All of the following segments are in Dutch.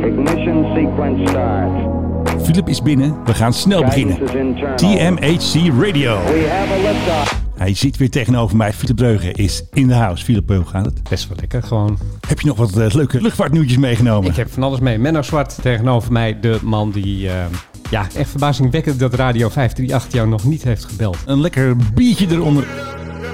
Ignition sequence start. Philip is binnen, we gaan snel beginnen. Guidance is internal. TMHC Radio. We have a Oh, liftoff. Hij zit weer tegenover mij. Philip Dreugen is in de house. Philip, hoe gaat het? Best wel lekker gewoon. Heb je nog wat eh, leuke luchtvaartnieuwtjes meegenomen? Ik heb van alles mee. Menno Zwart tegenover mij, de man die... eh, ja, echt verbazingwekkend dat Radio 538 jou nog niet heeft gebeld. Een lekker biertje eronder.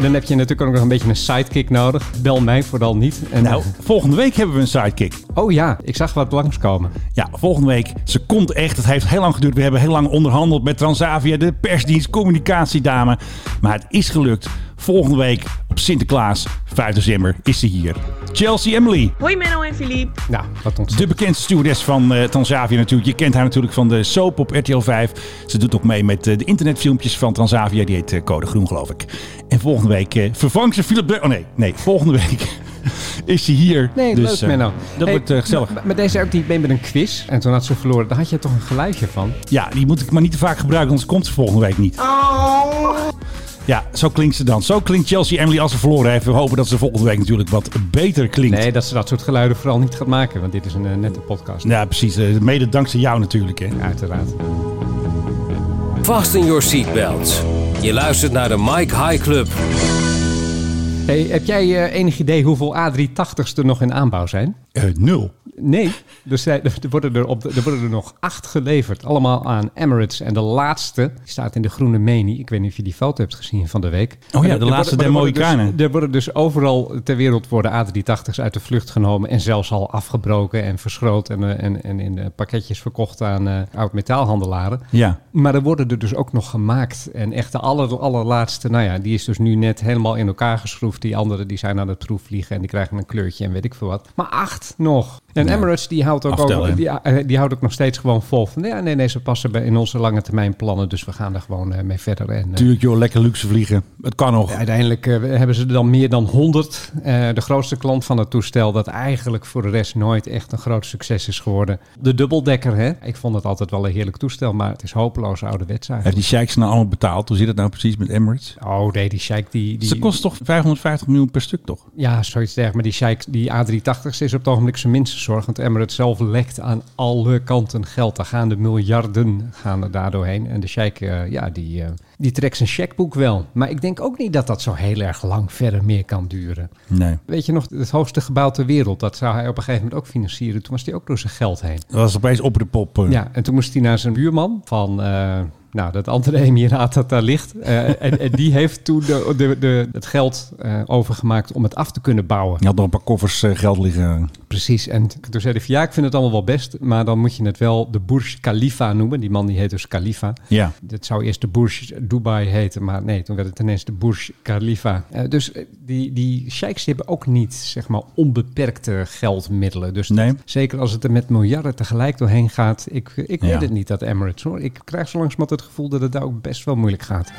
Dan heb je natuurlijk ook nog een beetje een sidekick nodig. Bel mij vooral niet. En Nou, volgende week hebben we een sidekick. Oh ja, ik zag wat langskomen. Ja, volgende week. Ze komt echt. Het heeft heel lang geduurd. We hebben heel lang onderhandeld met Transavia, de persdienst, communicatiedame. Maar het is gelukt. Volgende week op Sinterklaas, 5 december, is ze hier. Chelsea Emily. Hoi Menno en Philippe. Nou, wat ons... De bekendste stewardess van eh, Transavia natuurlijk. Je kent haar natuurlijk van de soap op RTL 5. Ze doet ook mee met eh, de internetfilmpjes van Transavia. Die heet eh, Code Groen, geloof ik. En volgende week eh, vervangt ze Philip... Dre- Oh nee, nee. Volgende week is ze hier. Nee, Dus, leuk eh, Menno. Dat Hey, wordt eh, gezellig. Maar maar deze ook die mee met een quiz. En toen had ze verloren. Daar had je toch een geluidje van. Ja, die moet ik maar niet te vaak gebruiken, anders komt ze volgende week niet. Ja, zo klinkt ze dan. Zo klinkt Chelsea Emily als ze verloren heeft. We hopen dat ze volgende week natuurlijk wat beter klinkt. Nee, dat ze dat soort geluiden vooral niet gaat maken. Want dit is een eh, nette podcast. Ja, precies. Eh, Mede dankzij jou natuurlijk. Hè. Uiteraard. Fasten your seatbelts. Je luistert naar de Mike High Club. Hey, heb jij eh, enig idee hoeveel A380's er nog in aanbouw zijn? Eh, nul. Nee, er, zijn, er, worden er, op, er worden er nog acht geleverd. Allemaal aan Emirates. En de laatste staat in de groene meni. Ik weet niet of je die foto hebt gezien van de week. Oh ja, de Er worden- laatste er der worden dus- Mohikanen. Er worden dus overal ter wereld worden A380's uit de vlucht genomen. En zelfs al afgebroken en verschroot. En, eh, en, en in eh, pakketjes verkocht aan eh oud-metaalhandelaren. Ja. Maar er worden er dus ook nog gemaakt. En echt de aller, allerlaatste, nou ja, die is dus nu net helemaal in elkaar geschroefd. Die andere die zijn aan het proefvliegen en die krijgen een kleurtje en weet ik veel wat. Maar acht nog. En Ja. Emirates die houdt, ook Aftellen. ook, die, eh, die houdt ook nog steeds gewoon vol van... Ja, nee, nee, ze passen bij- in onze lange termijn plannen. Dus we gaan er gewoon eh, mee verder. En, eh, Tuurlijk joh, lekker luxe vliegen. Het kan nog. Uiteindelijk eh, hebben ze er dan meer dan 100. Eh, de grootste klant van het toestel, dat eigenlijk voor de rest nooit echt een groot succes is geworden. De dubbeldekker, hè? Ik vond het altijd wel een heerlijk toestel, maar het is hopeloos ouderwets eigenlijk. Heeft die sheiks nou allemaal betaald? Hoe zit het nou precies met Emirates? Oh nee, die Sheik die... die Ze kost toch 550 miljoen per stuk, toch? ja, zoiets dergelijks. Maar die Sheik, die A380 is op het ogenblik zijn minste zorg. Want Emirates zelf lekt aan alle kanten geld. Daar gaan de miljarden gaan er daardoor heen. En de Sheik, eh, ja, die, eh, die trekt zijn checkboek wel. Maar ik denk ook niet dat dat zo heel erg lang verder meer kan duren. Nee. Weet je nog, het hoogste gebouw ter wereld, dat zou hij op een gegeven moment ook financieren. Toen was hij ook door zijn geld heen. Dat was opeens op de pop. eh. Ja, en toen moest hij naar zijn buurman van... eh, nou, dat andere emiraat dat daar ligt. Eh, en, en die heeft toen de, de, de, het geld eh, overgemaakt om het af te kunnen bouwen. Je had nog een paar koffers eh, geld liggen. Precies. En toen zei hij van ja, ik vind het allemaal wel best. Maar dan moet je het wel de Burj Khalifa noemen. Die man die heet dus Khalifa. Ja. Dat zou eerst de Burj Dubai heten, maar nee, toen werd het ineens de Burj Khalifa. Eh, dus eh, die, die sheiks die hebben ook niet, zeg maar, onbeperkte geldmiddelen. Dus dat- Nee. zeker als het er met miljarden tegelijk doorheen gaat. Ik, ik Ja. weet het niet, dat Emirates hoor. Ik krijg zo langzamerhand het gevoel dat het daar ook best wel moeilijk gaat.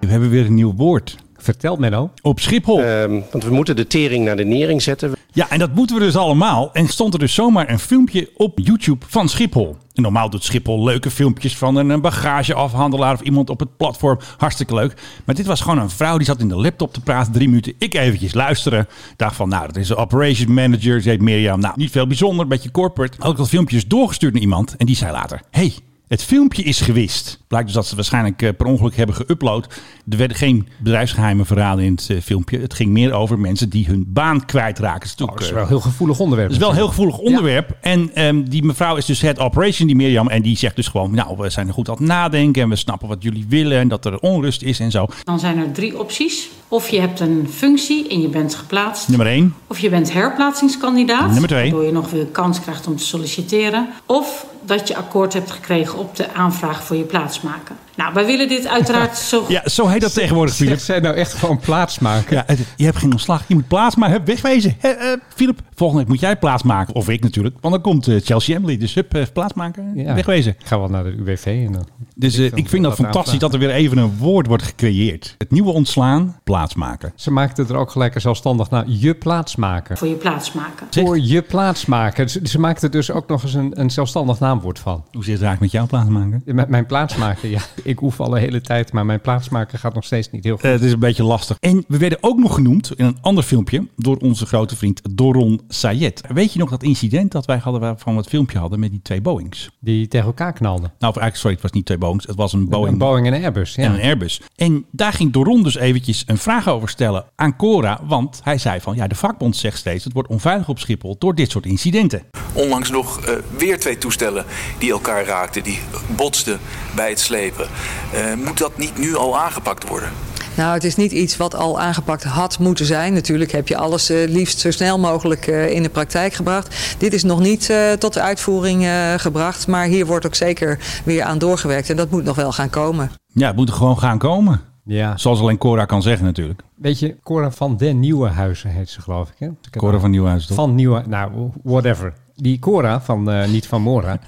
We hebben weer een nieuw woord. Vertel Menno. Op Schiphol. Ehm, want we moeten de tering naar de nering zetten. Ja, en dat moeten we dus allemaal. En stond er dus zomaar een filmpje op YouTube van Schiphol. En normaal doet Schiphol leuke filmpjes van een bagageafhandelaar of iemand op het platform. Hartstikke leuk. Maar dit was gewoon een vrouw die zat in de laptop te praten. Drie minuten. Ik eventjes luisteren. Dacht van, nou, dat is een operations manager. Ze heet Mirjam. Nou, niet veel bijzonder. Beetje corporate. Had ik dat filmpje dus doorgestuurd naar iemand. En die zei later, hey, het filmpje is gewist. Blijkt dus dat ze waarschijnlijk eh, per ongeluk hebben geüpload. Er werden geen bedrijfsgeheimen verraden in het eh, filmpje. Het ging meer over mensen die hun baan kwijtraken. Dat is natuurlijk, Oh, Dat is eh, wel een heel gevoelig onderwerp. het is wel een heel gevoelig onderwerp. En ehm, die mevrouw is dus head operation, die Mirjam. En die zegt dus gewoon, nou, we zijn er goed aan het nadenken. En we snappen wat jullie willen. En dat er onrust is en zo. Dan zijn er drie opties. Of je hebt een functie en je bent geplaatst. Nummer één. Of je bent herplaatsingskandidaat. Nummer twee. Waardoor je nog weer kans krijgt om te solliciteren. Of dat je akkoord hebt gekregen op de aanvraag voor je plaatsmaken. Nou, wij willen dit uiteraard zo goed. Ja, zo heet dat tegenwoordig, Filip. Zeg, zijn nou echt gewoon plaatsmaken? Ja, het- je hebt geen ontslag. Je moet plaats maar hup, wegwezen. Hè, eh, Filip, volgende week moet jij plaats maken. Of ik natuurlijk. Want dan komt eh, Chelsea Emily. Dus hup, eh, plaats maken. Ja. Wegwezen. Ik ga wel naar de UWV en dan... Dus eh, ik, vind vind dat dat fantastisch aanvragen. dat er weer even een woord wordt gecreëerd. Het nieuwe ontslaan, plaatsmaken. Ze maakten er ook gelijk een zelfstandig naar je plaatsmaker. Voor je plaatsmaken. Zeg. Voor je plaatsmaker. Ze, ze maakten er dus ook nog eens een, een zelfstandig naamwoord van. Hoe zit het eigenlijk met jouw plaatsmaken? M- mijn plaatsmaker, ja. ik oef al de hele tijd, maar mijn plaatsmaker gaat nog steeds niet heel goed. Eh, het is een beetje lastig. En we werden ook nog genoemd in een ander filmpje door onze grote vriend Doron Sayed. Weet je nog dat incident dat wij hadden waarvan we het filmpje hadden met die twee Boeings? Die tegen elkaar knalden. Nou, of eigenlijk, sorry, het was niet twee Boeings. Het was een Boeing, Een Boeing en een Airbus, ja. en een Airbus. En daar ging Doron dus eventjes een vraag over stellen aan Cora. Want hij zei van, ja, de vakbond zegt steeds... het wordt onveilig op Schiphol door dit soort incidenten. Onlangs nog eh, weer twee toestellen die elkaar raakten, die botsten bij het slepen. Eh, moet dat niet nu al aangepakt worden? Nou, het is niet iets wat al aangepakt had moeten zijn. Natuurlijk heb je alles eh, liefst zo snel mogelijk eh, in de praktijk gebracht. Dit is nog niet eh, tot de uitvoering eh, gebracht, maar hier wordt ook zeker weer aan doorgewerkt. En dat moet nog wel gaan komen. Ja, het moet er gewoon gaan komen. Ja. Zoals alleen Cora kan zeggen natuurlijk. Weet je, Cora van den Nieuwenhuizen heet ze geloof ik. Hè? Ik heb Cora van Nieuwhuizen, toch? Van Nieuwe, nou, whatever. Die Cora van, eh, niet van Mora,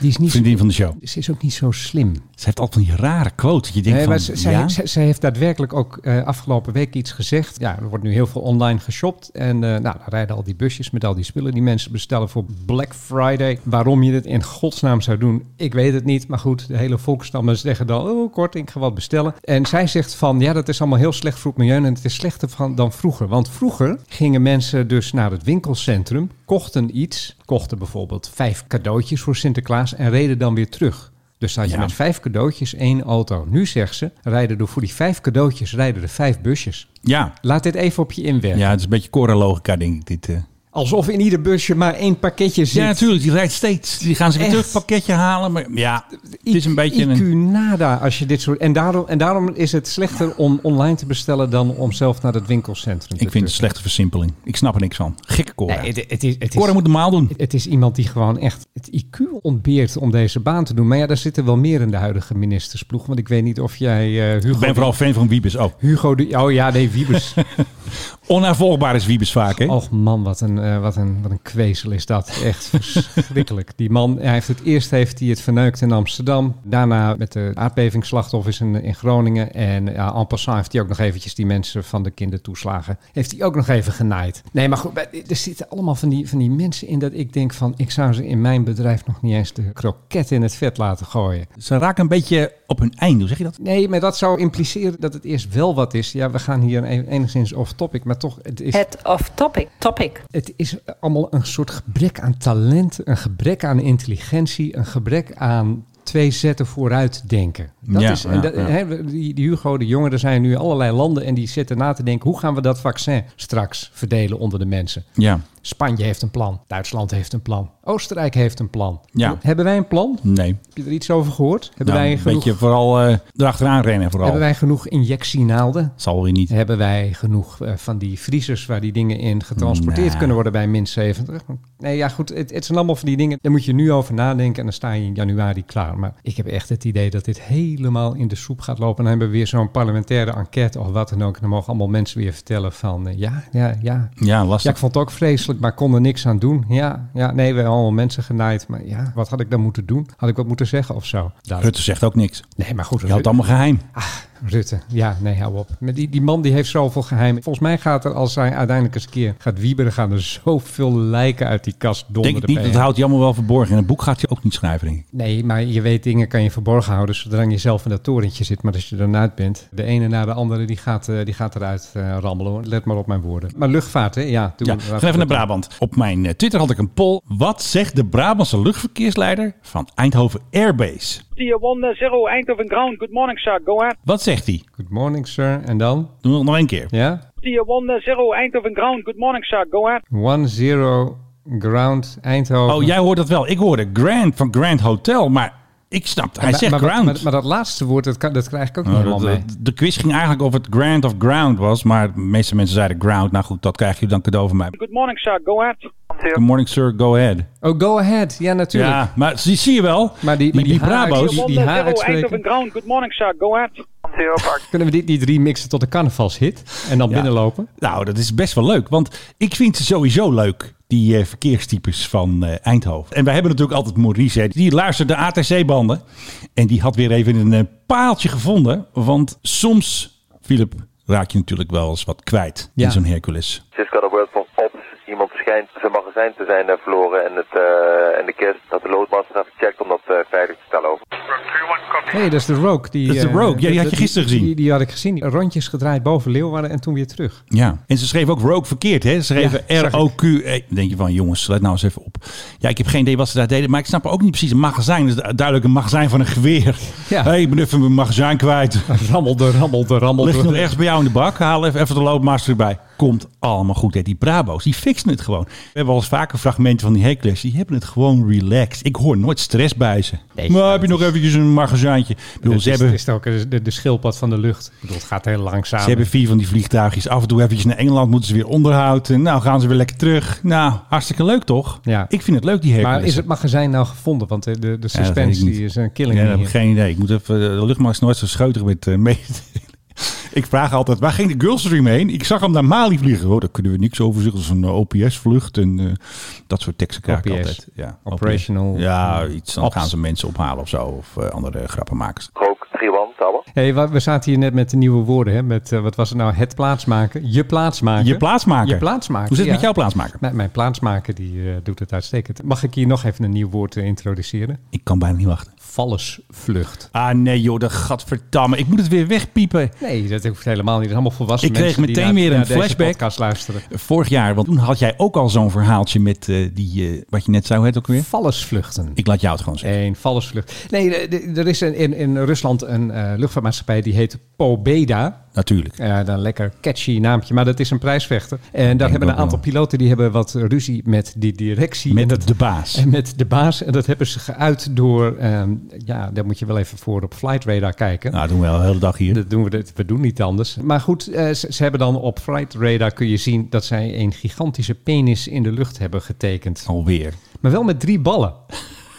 die is niet, Vriendin van de show. ze is ook niet zo slim. Ze heeft altijd van die rare quote. dat Je denkt Nee, van, maar ze, zij- ja? zij- zij heeft daadwerkelijk ook eh, afgelopen week iets gezegd. Ja, er wordt nu heel veel online geshopt. En eh, nou, daar rijden al die busjes met al die spullen die mensen bestellen voor Black Friday. Waarom je dit in godsnaam zou doen, ik weet het niet. Maar goed, de hele volkstammen zeggen dan, oh kort, ik ga wat bestellen. En zij zegt van, ja, dat is allemaal heel slecht voor het milieu. En het is slechter van, dan vroeger. Want vroeger gingen mensen dus naar het winkelcentrum, kochten iets. Kochten bijvoorbeeld vijf cadeautjes voor Sinterklaas en reden dan weer terug. Dus dan had je Ja. met vijf cadeautjes één auto. Nu zegt ze, rijden er voor die vijf cadeautjes rijden er vijf busjes. ja, Laat dit even op je inwerken. Ja, het is een beetje Cora-logica, denk ik. Dit, eh. Alsof in ieder busje maar één pakketje zit. Ja, natuurlijk. Die rijdt steeds. Die gaan ze weer Echt? terug een pakketje halen. Maar ja, het is een beetje IQ een... nada als je dit soort... En daarom, en daarom is het slechter om online te bestellen dan om zelf naar het winkelcentrum te Ik vind het een tuffen. slechte versimpeling. Ik snap er niks van. Gekke Cora. Nee, het, het is, het, Cora is, moet normaal doen. het is iemand die gewoon echt het IQ ontbeert om deze baan te doen. Maar ja, daar zitten wel meer in de huidige ministersploeg. Want ik weet niet of jij eh, Hugo... Ik ben vooral fan van Wiebes. Oh, Hugo de... Oh ja, nee, Wiebes. onnavolgbaar is Wiebes vaak, hè? Och man, wat een, eh, wat, een, wat een kwezel is dat. Echt verschrikkelijk. Die man, hij heeft het eerst heeft hij het verneukt in Amsterdam. Daarna met de aardbevingsslachtoffers in, in Groningen. En ja, en passant heeft hij ook nog eventjes die mensen van de kindertoeslagen... heeft hij ook nog even genaaid. Nee, maar goed, maar er zitten allemaal van die, van die mensen in dat ik denk van... ik zou ze in mijn bedrijf nog niet eens de kroket in het vet laten gooien. Ze raken een beetje op hun einde. Hoe zeg je dat? Nee, maar dat zou impliceren dat het eerst wel wat is. Ja, we gaan hier een- enigszins off-topic, maar toch... Het is, Het off-topic. Topic. Het is allemaal een soort gebrek aan talent, een gebrek aan intelligentie, een gebrek aan twee zetten vooruit denken. Dat Ja, is, en ja, dat- ja. hè, we- die, die Hugo de Jonge, er zijn nu allerlei landen en die zitten na te denken, hoe gaan we dat vaccin straks verdelen onder de mensen? Ja. Spanje heeft een plan, Duitsland heeft een plan, Oostenrijk heeft een plan. Ja. Hebben wij een plan? Nee. Heb je er iets over gehoord? Hebben, Nou, wij, een genoeg, beetje vooral eh, erachteraan rennen vooral. hebben wij genoeg injectienaalden? Zal weer niet. Hebben wij genoeg eh, van die vriezers waar die dingen in getransporteerd kunnen worden bij min 70? Nee, ja goed, het, het zijn allemaal van die dingen. Daar moet je nu over nadenken en dan sta je in januari klaar. Maar ik heb echt het idee dat dit helemaal in de soep gaat lopen. En dan hebben we weer zo'n parlementaire enquête of wat dan ook. En dan mogen allemaal mensen weer vertellen van eh, ja, ja, ja. Ja, Ja, ik lastig. vond het ook vreselijk, maar kon er niks aan doen. Ja, ja, nee, we hebben allemaal mensen genaaid. Maar ja, wat had ik dan moeten doen? Had ik wat moeten zeggen of zo? Rutte zegt ook niks. Nee, maar goed. Je houdt allemaal geheim. Ah, Rutte, ja, nee, hou op. Maar die, die man die heeft zoveel geheim. Volgens mij gaat er, als hij uiteindelijk eens een keer gaat wieberen, gaan er zoveel lijken uit die kast donderen. Denk ik niet. bij Dat hem. houdt hij allemaal wel verborgen. En een boek gaat hij ook niet schrijven, denk ik. Nee, maar je weet, dingen kan je verborgen houden zodra je zelf in dat torentje zit. Maar als je ernaar bent, de ene na de andere, die gaat, eh, die gaat eruit eh, rammelen. hoor. Let maar op mijn woorden. Maar luchtvaart, hè? Ja, toen, Ja, we gaan even naar Brabant. Op mijn eh, Twitter had ik een poll. Wat zegt de Brabantse luchtverkeersleider van Eindhoven Airbase? Tier 1 eh, Zero Eindhoven Ground. Good morning, sir. Go ahead. Wat zegt hij? Good morning, sir. En dan? Doe het nog één keer. Ja? Tier 1 Zero Eindhoven Ground. Good morning, sir. Go ahead. One zero ground Eindhoven. Oh, jij hoort dat wel. Ik hoorde Grand van Grand Hotel, maar ik snapte. Hij Maar- zegt maar, ground. Maar, maar dat laatste woord, dat, kan, dat krijg ik ook niet Nou, helemaal dat- mee. dat- de quiz ging eigenlijk of het Grand of Ground was, maar de meeste mensen zeiden Ground. Nou goed, dat krijg je dan cadeau van mij. Good morning, sir. Go ahead. Good morning, sir. Go ahead. Oh, go ahead. Ja, natuurlijk. Ja, maar zie, zie je wel. Maar die- maar die haar- Brabo's. die- Tier 1 haar Zero uitspreken. Eindhoven Ground. Good morning, sir. Go ahead. Kunnen we dit niet remixen tot de carnavalshit en dan Ja. binnenlopen? Nou, dat is best wel leuk. Want ik vind ze sowieso leuk, die eh, verkeerstypes van eh, Eindhoven. En wij hebben natuurlijk altijd Maurice. Hè, die luistert de ATC-banden. En die had weer even een eh, paaltje gevonden. Want soms, Philip, raak je natuurlijk wel eens wat kwijt Ja. in zo'n Hercules. Cisco de World van Ops. Iemand schijnt zijn magazijn te zijn eh, verloren en, het, eh, en de kist dat de loodmaster heeft gecheckt om dat eh, veilig te stellen over. Run 3-1, copy. Nee, dat is de Rogue. Die, Dat is de eh, Rogue. Ja, die had je dat- gisteren gezien. Die, die had ik gezien. Die Rondjes gedraaid boven Leeuwarden en toen weer terug. Ja, en ze schreven ook Rogue verkeerd, hè? Ze schreven Ja, zag ik. R-O-Q-E. eh, Dan denk je van, jongens, let nou eens even op. Ja, ik heb geen idee wat ze daar deden, maar ik snap ook niet precies. Een magazijn is duidelijk een magazijn van een geweer. Ja. hey, ik ben even mijn magazijn kwijt. Rammelde, rammelde, rammelde. Ligt het nog ergens bij jou in de bak? Haal even, even de loopmaster erbij. Komt allemaal goed, hè? Die Brabo's, die fixen het gewoon. We hebben al eens vaker fragmenten van die hecklers. Die hebben het gewoon relaxed. Ik hoor nooit stress bij ze. Nee, maar dat heb je nog eventjes een magazijntje? Ik bedoel, Het ze is, hebben... is het ook de, de schildpad van de lucht. Ik bedoel, het gaat heel langzaam. Ze hebben vier van die vliegtuigjes. Af en toe eventjes naar Engeland moeten ze weer onderhoud. En nou gaan ze weer lekker terug. Nou, hartstikke leuk toch? Ja. Ik vind het leuk, die Hercules. maar is het magazijn nou gevonden? Want de, de, de Ja, dat weet ik suspense niet. die is een killing. Ja, dat me heb ik hier. geen idee. Ik moet even eh, de luchtmacht is nooit zo scheutig met eh mee. Ik vraag altijd, waar ging de Gulfstream heen? Ik zag hem naar Mali vliegen. Oh, daar kunnen we niks over zeggen. Dat is een eh, OPS-vlucht en eh, dat soort teksten krijg ik OPS. altijd. Ja, Operational- OPS. Ja, iets. Dan Ops. gaan ze mensen ophalen of zo. Of eh, andere grappenmakers. Rook, Triwan, Tauber. Hey, wa- we zaten hier net met de nieuwe woorden. Hè? Met, eh, wat was het nou? Het plaatsmaken. Je plaatsmaken. Je plaatsmaker. Je plaatsmaken, Hoe zit het ja. met jouw plaatsmaker? Mijn, mijn plaatsmaker die eh, doet het uitstekend. Mag ik hier nog even een nieuw woord eh, introduceren? Ik kan bijna niet wachten. Vallesvlucht. Ah nee joh, dat gadverdamme. Ik moet het weer wegpiepen. Nee, dat hoeft helemaal niet. Dat is allemaal volwassen Ik kreeg mensen die meteen naar- weer een naar deze flashback. podcast luisteren. Vorig jaar, want toen had jij ook al zo'n verhaaltje met eh, die, eh, wat je net zei, hoe heet het ook weer? Vallesvluchten. Ik laat jou het gewoon zeggen. Een vallesvlucht. Nee, de- de- er is een- in, in Rusland een eh, luchtvaartmaatschappij die heet Pobeda. Natuurlijk. Ja, dan lekker catchy naampje, maar dat is een prijsvechter. En daar denk hebben een ook wel. aantal piloten die hebben wat ruzie met die directie. nou. Met en dat, de baas. En met de baas. En dat hebben ze geuit door, ehm, ja, daar moet je wel even voor op Flight Radar kijken. Nou, dat doen we al de hele dag hier. Dat doen we, dit- we doen niet anders. Maar goed, eh, ze, ze hebben dan op Flight Radar kun je zien dat zij een gigantische penis in de lucht hebben Oh. getekend. Alweer. Maar wel met drie ballen.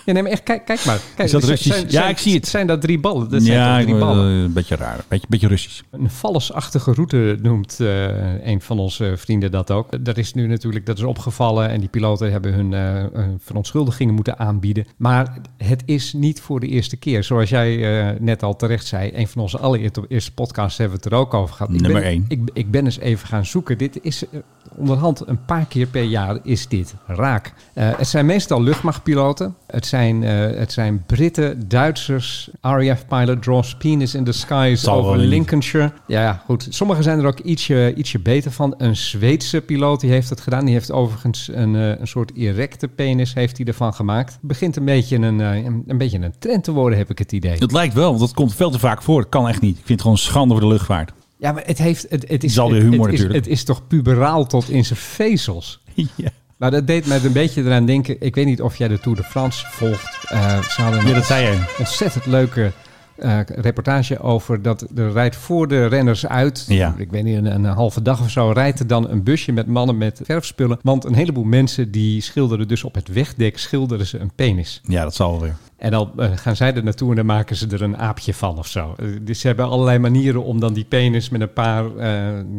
Ja, nee, maar echt, kijk, kijk maar. Kijk, Is dat zijn- Russisch? zijn- Ja, zijn- ik zie het. Zijn dat drie ballen? Dat zijn toch ik drie wil- ballen. een beetje raar. Beetje, beetje Russisch. Een vallesachtige route noemt eh, een van onze vrienden dat ook. Dat is nu natuurlijk dat is opgevallen en die piloten hebben hun eh, eh, verontschuldigingen moeten aanbieden. Maar het is niet voor de eerste keer. Zoals jij eh, net al terecht zei, een van onze allereerste podcasts hebben we het er ook over gehad. Ik Nummer ben, één. Ik, ik ben eens even gaan zoeken. Dit is eh, onderhand een paar keer per jaar is dit raak. Eh, het zijn meestal luchtmachtpiloten. Het zijn, eh, het zijn Britten, Duitsers. RAF-pilot draws penis in the skies Zal over wel niet. Lincolnshire. Ja, ja, goed. Sommigen zijn er ook ietsje, ietsje beter van. Een Zweedse piloot die heeft het gedaan. Die heeft overigens een, eh, een soort erecte penis heeft hij ervan gemaakt. Begint een beetje een, eh, een, een beetje een trend te worden, heb ik het idee. Het lijkt wel, want dat komt veel te vaak voor. Dat kan echt niet. Ik vind het gewoon schande voor de luchtvaart. Ja, maar het, heeft, het, het is... Zal weer het- humor het is- natuurlijk. Het is toch puberaal tot in zijn vezels? ja. Nou, dat deed mij een beetje eraan denken. Ik weet niet of jij de Tour de France volgt. Eh, ze hadden Ja, dat zei jij. een ontzettend leuke eh, reportage over dat er rijdt voor de renners uit. Ja. Ik weet niet, een, een halve dag of zo rijdt er dan een busje met mannen met verfspullen. Want een heleboel mensen die schilderen dus op het wegdek schilderen ze een penis. Ja, dat zal wel weer. En dan eh, gaan zij er naartoe en dan maken ze er een aapje van of zo. Eh, dus ze hebben allerlei manieren om dan die penis met een paar, eh,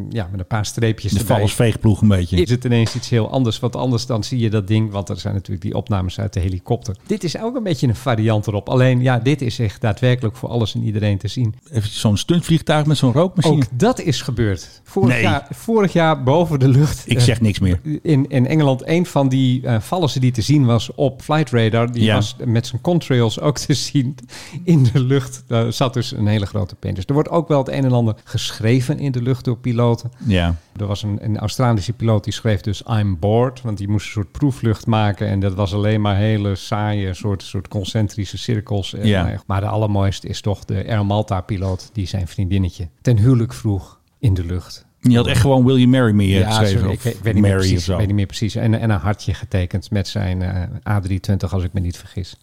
ja, met een paar streepjes De erbij vallersveegploeg een beetje. is het ineens iets heel anders. Want anders dan zie je dat ding, want er zijn natuurlijk die opnames uit de helikopter. Dit is ook een beetje een variant erop. Alleen ja, dit is echt daadwerkelijk voor alles en iedereen te zien. Even zo'n stuntvliegtuig met zo'n rookmachine. Ook dat is gebeurd. Vorig, Nee. jaar, vorig jaar boven de lucht. Ik eh, zeg niks meer. in, in Engeland, een van die eh vallen die te zien was op Flight Radar, die Ja. was met zijn contrails ook te zien in de lucht. Daar zat dus een hele grote penis. Er wordt ook wel het een en ander geschreven in de lucht door piloten. Ja. Er was een, een Australische piloot die schreef dus I'm bored, want die moest een soort proeflucht maken en dat was alleen maar hele saaie soort, soort concentrische cirkels. En, Ja. nou Maar de allermooiste is toch de Air Malta piloot die zijn vriendinnetje ten huwelijk vroeg in de lucht. Je had echt gewoon Will You Marry Me eh, geschreven. sorry, of ik, weet- ik weet niet meer Mary precies, of zo. weet niet Oké, meer precies. En, en een hartje getekend met zijn eh, A320 als ik me niet vergis.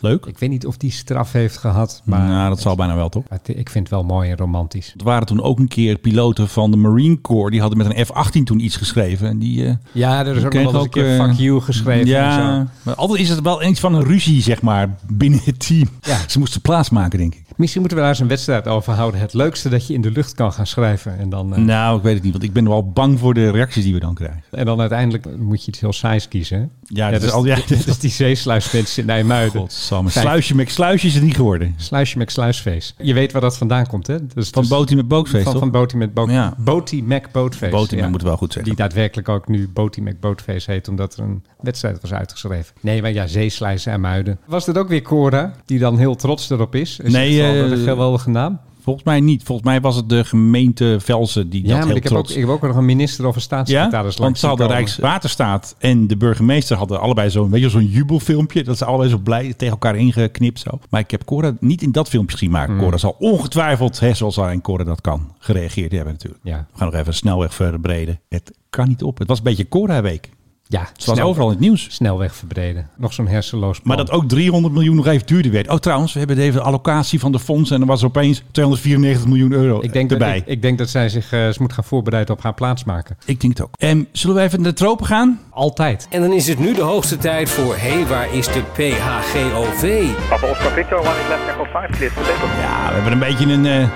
leuk. Ik weet niet of die straf heeft gehad, maar nou, dat zal bijna wel toch? het- ik vind het wel mooi en romantisch. Er waren toen ook een keer piloten van de Marine Corps. Die hadden met een F-18 toen iets geschreven. En die, eh, Ja, er is ook nog kreeg wel eens een keer eh, fuck you geschreven en zo. Ja, maar altijd is het wel iets van een ruzie, zeg maar, binnen het team. Ja. Ze moesten plaatsmaken, denk ik. Misschien moeten we daar eens een wedstrijd over houden. Het leukste dat je in de lucht kan gaan schrijven. En dan, eh, Nou, ik weet het niet, want ik ben wel bang voor de reacties die we dan krijgen. en dan uiteindelijk moet je iets heel saais kiezen. hè? dat is al- ja, dat is die zeesluisfeest in Nijmuiden. Godsamme. Vijf- Sluisje met sluisje is het niet geworden. Sluisje met sluisfeest. Je weet waar dat vandaan komt, hè? Dus, Van dus- Botie met Bootfeest, Van, toch? van Botie met Bootfeest. Ja. Botie Mac Bootfeest. Botie Mac moet wel goed zeggen. Die daadwerkelijk ook nu Botie Mac Bootfeest heet, omdat er een wedstrijd was uitgeschreven. Nee, maar ja, zeesluizen en muiden. Was dat ook weer Cora, die dan heel trots erop is? Nee, eh, wel met een eh, geweldige naam. Volgens mij niet. Volgens mij was het de gemeente Velsen die Ja, dat maar heel ik heb, ook, trots... ik heb ook nog een minister of een staatssecretaris ja, want langs ze zien hadden komen. Rijkswaterstaat en de burgemeester hadden allebei zo'n weet je, zo'n jubelfilmpje. Dat ze allebei zo blij tegen elkaar ingeknipt zo. Maar ik heb Cora niet in dat filmpje zien Hmm. maken. Cora zal ongetwijfeld, hè, zoals alleen Cora dat kan, gereageerd hebben natuurlijk. Ja. We gaan nog even snelweg verbreden. Het kan niet op. Het was een beetje Cora-week. Ja, Ze was overal in het nieuws. Snelweg verbreden. Nog zo'n hersenloos plan. Maar dat ook 300 miljoen nog even duurder werd. Oh, trouwens, we hebben even de allocatie van de fondsen. En er was opeens 294 miljoen euro ik denk erbij. Dat, ik, ik denk dat zij zich eh, ze moet gaan voorbereiden op haar plaatsmaken. Ik denk het ook. En zullen we even naar de tropen gaan? Altijd. En dan is het nu de hoogste tijd voor... Hé, hey, waar is de PHGOV? Papa Oscar Victor, one is left echo 5, clear to label. Ja, we hebben een beetje een eh,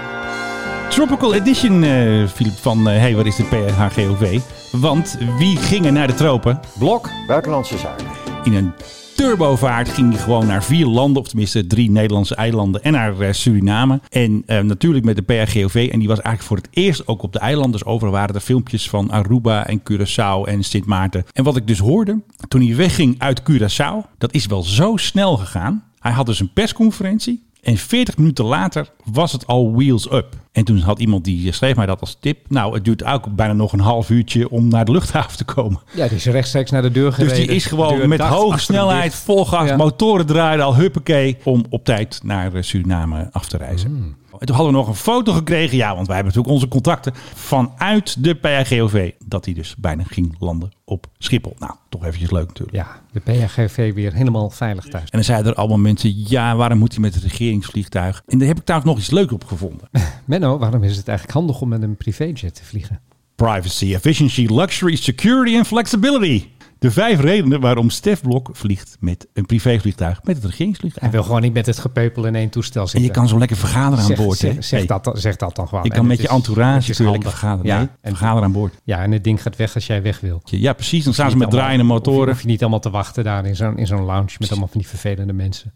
tropical edition, eh Philip, van eh hey, wat is de PHGOV? Want wie gingen naar de tropen? Blok. Buitenlandse zaken. In een turbovaart ging hij gewoon naar vier landen, of tenminste drie Nederlandse eilanden en naar eh, Suriname. En eh, natuurlijk met de PHGOV. En die was eigenlijk voor het eerst ook op de eilanden. Dus overal waren er filmpjes van Aruba en Curaçao en Sint Maarten. En wat ik dus hoorde, toen hij wegging uit Curaçao, dat is wel zo snel gegaan. Hij had dus een persconferentie. En 40 minuten later was het al wheels up. En toen had iemand die schreef mij dat als tip. Nou, het duurt ook bijna nog een half uurtje om naar de luchthaven te komen. Ja, die is rechtstreeks naar de deur gereden. Dus die is Deur gewoon met dacht hoge achter hem snelheid, dicht. vol gas, Ja. motoren draaien al, huppakee, om op tijd naar eh, Suriname af te reizen. Mm. En toen hadden we nog een foto gekregen, ja, want wij hebben natuurlijk onze contacten vanuit de PAGOV, dat hij dus bijna ging landen op Schiphol. Nou, toch eventjes leuk natuurlijk. Ja, de PHGV weer helemaal veilig thuis. En dan zeiden er allemaal mensen, ja, waarom moet hij met het regeringsvliegtuig? En daar heb ik trouwens nog iets leuks op gevonden. Menno, waarom is het eigenlijk handig om met een privéjet te vliegen? Privacy, efficiency, luxury, security en flexibility. De vijf redenen waarom Stef Blok vliegt met een privévliegtuig, met het regeringsvliegtuig. Hij wil gewoon niet met het gepeupel in één toestel En zitten. je kan zo lekker vergaderen aan zeg, boord. hè? Zeg, zeg Hey, dat, dan- zeg dat dan gewoon. Je En kan met het je is- entourage het is natuurlijk lekker handig. vergaderen. Ja, Nee, en, vergaderen aan boord. ja, en het ding gaat weg als jij weg wil. Ja, precies. Dan staan ze Niet met draaiende allemaal- Hoef je, motoren. hoef je niet allemaal te wachten daar in zo'n in zo'n lounge met allemaal van die vervelende mensen.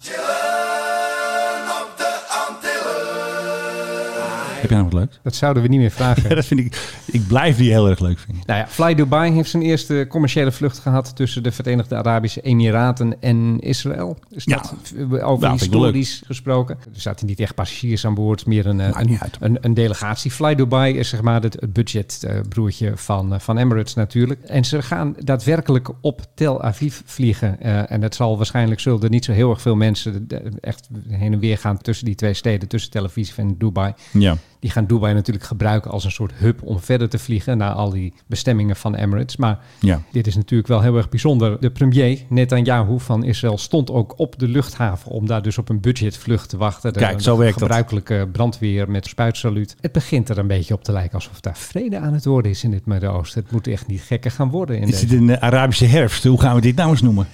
Heb jij nog wat leuks? Dat zouden we niet meer vragen. Ja, dat vind ik... Ik blijf die heel erg leuk vinden. Nou ja, Fly Dubai heeft zijn eerste commerciële vlucht gehad tussen de Verenigde Arabische Emiraten en Israël. Is Ja. dat v- ik over wel historisch gesproken? Er zaten niet echt passagiers aan boord, meer een, eh, Maakt een, niet uit. een, een delegatie. Fly Dubai is zeg maar het, het budgetbroertje van, eh, van Emirates natuurlijk. En ze gaan daadwerkelijk op Tel Aviv vliegen. Eh, en dat zal waarschijnlijk zullen er niet zo heel erg veel mensen eh, echt heen en weer gaan tussen die twee steden, tussen Tel Aviv en Dubai. Ja. Die gaan Dubai natuurlijk gebruiken als een soort hub om verder te vliegen naar al die bestemmingen van Emirates. Maar Ja. dit is natuurlijk wel heel erg bijzonder. De premier Netanyahu van Israël stond ook op de luchthaven om daar dus op een budgetvlucht te wachten. De- Kijk, zo de werkt dat. gebruikelijke brandweer met spuitsaluut. Het begint er een beetje op te lijken alsof daar vrede aan het worden is in het Midden-Oosten. Het moet echt niet gekker gaan worden. In Is deze. dit een eh, Arabische herfst? Hoe gaan we dit nou eens noemen?